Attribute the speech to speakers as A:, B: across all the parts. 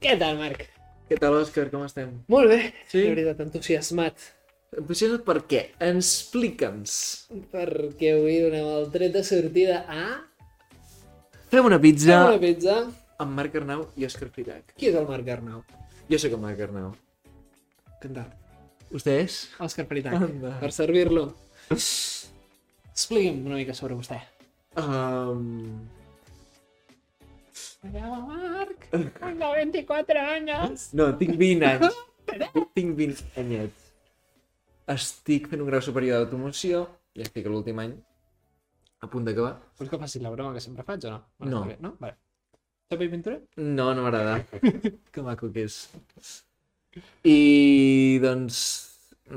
A: Què tal, Marc?
B: Què tal, Òscar? Com estem?
A: Molt bé,
B: Sí?
A: de veritat, entusiasmat
B: Entusiasmat per què? Explica'ns.
A: perquè avui donem el tret de sortida a...
B: Fem una pizza
A: Ja. Una pizza.
B: amb Marc Arnau i Òscar Pirac.
A: Qui és el Marc Arnau?
B: Jo sóc el Marc Arnau.
A: Cantant.
B: Vostè és?
A: Òscar Peritac.
B: Anda.
A: Per servir-lo. Expliqui'm una mica sobre vostè.
B: Um...
A: Hola, Marc. Tengo 24 anys.
B: No, tinc 20 anys. tinc 20 anyets. Estic fent un grau superior d'automoció, ja estic a l'últim any, a punt d'acabar.
A: Vols que faci la broma que sempre faig o no?
B: No.
A: està bé, No? Vale. Xapi Ventura?
B: No, no m'agrada. que maco que és. I doncs,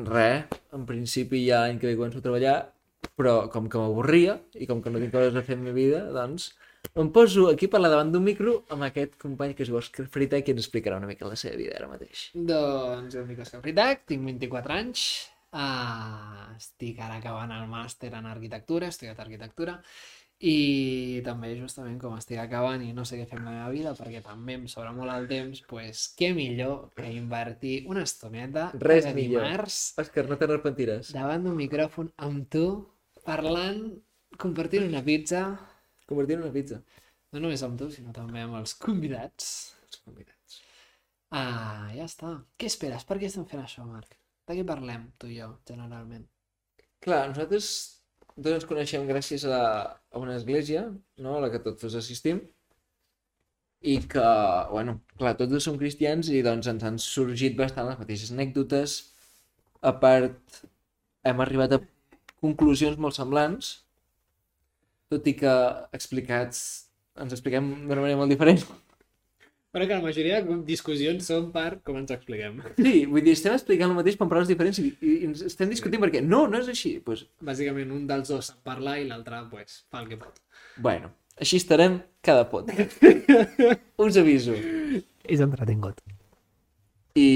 B: res, en principi ja l'any que ve començo a treballar, però com que m'avorria i com que no tinc coses a fer en la meva vida, doncs em poso aquí a parlar davant d'un micro amb aquest company que es diu Òscar Frita i que ens explicarà una mica la seva vida ara mateix.
A: Doncs jo em dic Òscar Fritac, tinc 24 anys, uh, estic ara acabant el màster en arquitectura, he estudiat arquitectura, i també justament com estic acabant i no sé què fer amb la meva vida perquè també em sobra molt el temps, doncs què millor que invertir una estoneta
B: Res
A: cada
B: millor.
A: dimarts
B: Òscar, no t'arrepentiràs.
A: davant d'un micròfon amb tu, parlant, compartint una pizza,
B: Convertir en una pizza.
A: no només amb tu, sinó també amb els convidats.
B: Els convidats.
A: Ah, ja està. Què esperes? Per què estem fent això, Marc? De què parlem, tu i jo, generalment?
B: Clar, nosaltres dos ens coneixem gràcies a, a una església, no?, a la que tots dos assistim, i que, bueno, clar, tots dos som cristians i doncs ens han sorgit bastant les mateixes anècdotes. A part, hem arribat a conclusions molt semblants, tot i que explicats ens expliquem d'una manera molt diferent.
A: Però que la majoria de discussions són per com ens expliquem.
B: Sí, vull dir, estem explicant el mateix però amb paraules diferents i, i ens estem discutint perquè no, no és així. Doncs pues,
A: Bàsicament, un dels dos sap parlar i l'altre, pues, fa el que pot.
B: Bueno, així estarem cada podcast. Us aviso.
A: És entretingut.
B: I...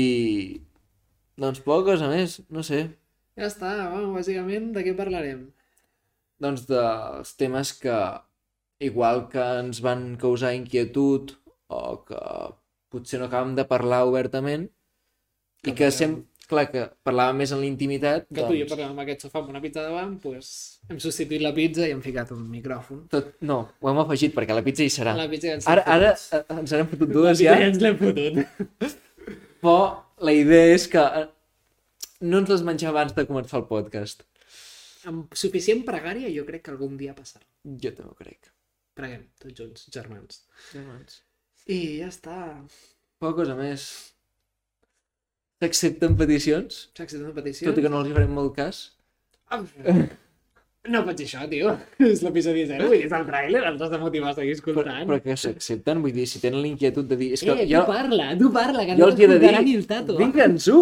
B: Doncs poques, a més, no sé.
A: Ja està, bueno, bàsicament, de què parlarem?
B: Doncs dels temes que, igual que ens van causar inquietud o que potser no acabem de parlar obertament i que sem... clar, que parlàvem més en la intimitat,
A: Que tu i jo
B: doncs...
A: parlem amb aquest sofà amb una pizza davant, pues, hem substituït la pizza i hem ficat un micròfon.
B: Tot... No, ho hem afegit perquè la pizza hi serà.
A: La pizza ja ens
B: Ara,
A: l'hem
B: ara
A: fotut.
B: eh, ens n'hem fotut
A: La
B: dues
A: pizza
B: ja.
A: ja ens l'hem fotut.
B: Però la idea és que eh, no ens les menjar abans de començar el podcast.
A: Amb suficient pregària, jo crec que algun dia passarà.
B: Jo també ho crec.
A: Preguem, tots junts, germans.
B: Germans.
A: I ja està.
B: Poca cosa més. S'accepten peticions,
A: S'ha acceptat una
B: sí,
A: petició?
B: tot i que no els hi farem molt cas.
A: Ah, No faig això, tio. És l'episodi 0, vull dir, és el tràiler, ens has de motivar a seguir
B: Però,
A: escoltant.
B: però que s'accepten, vull dir, si tenen la inquietud de dir... És que
A: eh,
B: jo,
A: tu parla, tu parla, que
B: jo
A: no
B: els hi he de dir...
A: t'escoltarà ni el tato.
B: Digue'ns-ho!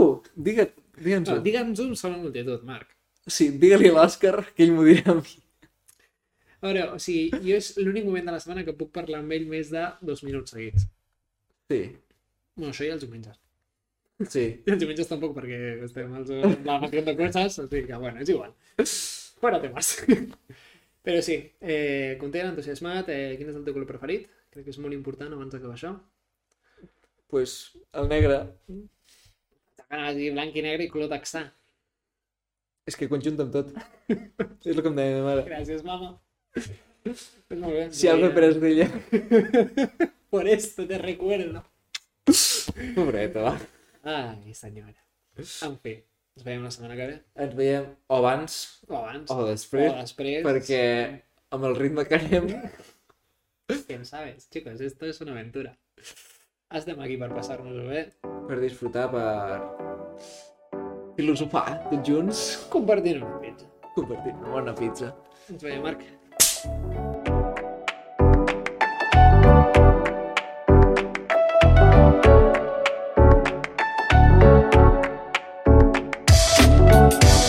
B: Digue,
A: No,
B: digue'ns-ho.
A: Digue'ns un sol multitud, Marc.
B: Sí, digue-li a l'Òscar, que ell m'ho dirà a mi.
A: A veure, o sigui, jo és l'únic moment de la setmana que puc parlar amb ell més de dos minuts seguits.
B: Sí,
A: Bueno, això ja els diumenges.
B: sí.
A: I els diumenges tampoc, perquè estem als, amb la maqueta de coses, o sigui que, bueno, és igual. Fora temes. Però sí, eh, content, entusiasmat, eh, quin és el teu color preferit? Crec que és molt important abans d'acabar això.
B: Pues, el negre...
A: T'agrada dir blanc i negre i color texà.
B: És que conjunta amb tot. és el que em deia ma mare.
A: Gràcies, mama. Pues molt bé.
B: Si algo he pres eh. d'ella...
A: Por esto te recuerdo.
B: Pobreta, va.
A: Ai, senyora. En fi, ens veiem la setmana que ve.
B: Ens veiem o abans
A: O abans.
B: o després,
A: O després.
B: perquè amb el ritme que anem...
A: Quién sabes, chicos, esto es una aventura. Estem aquí ¿eh? per passar-nos-ho bé,
B: per disfrutar, per filosofar tots junts,
A: compartint una pizza.
B: compartir una bona pizza.
A: Ens veiem, Marc.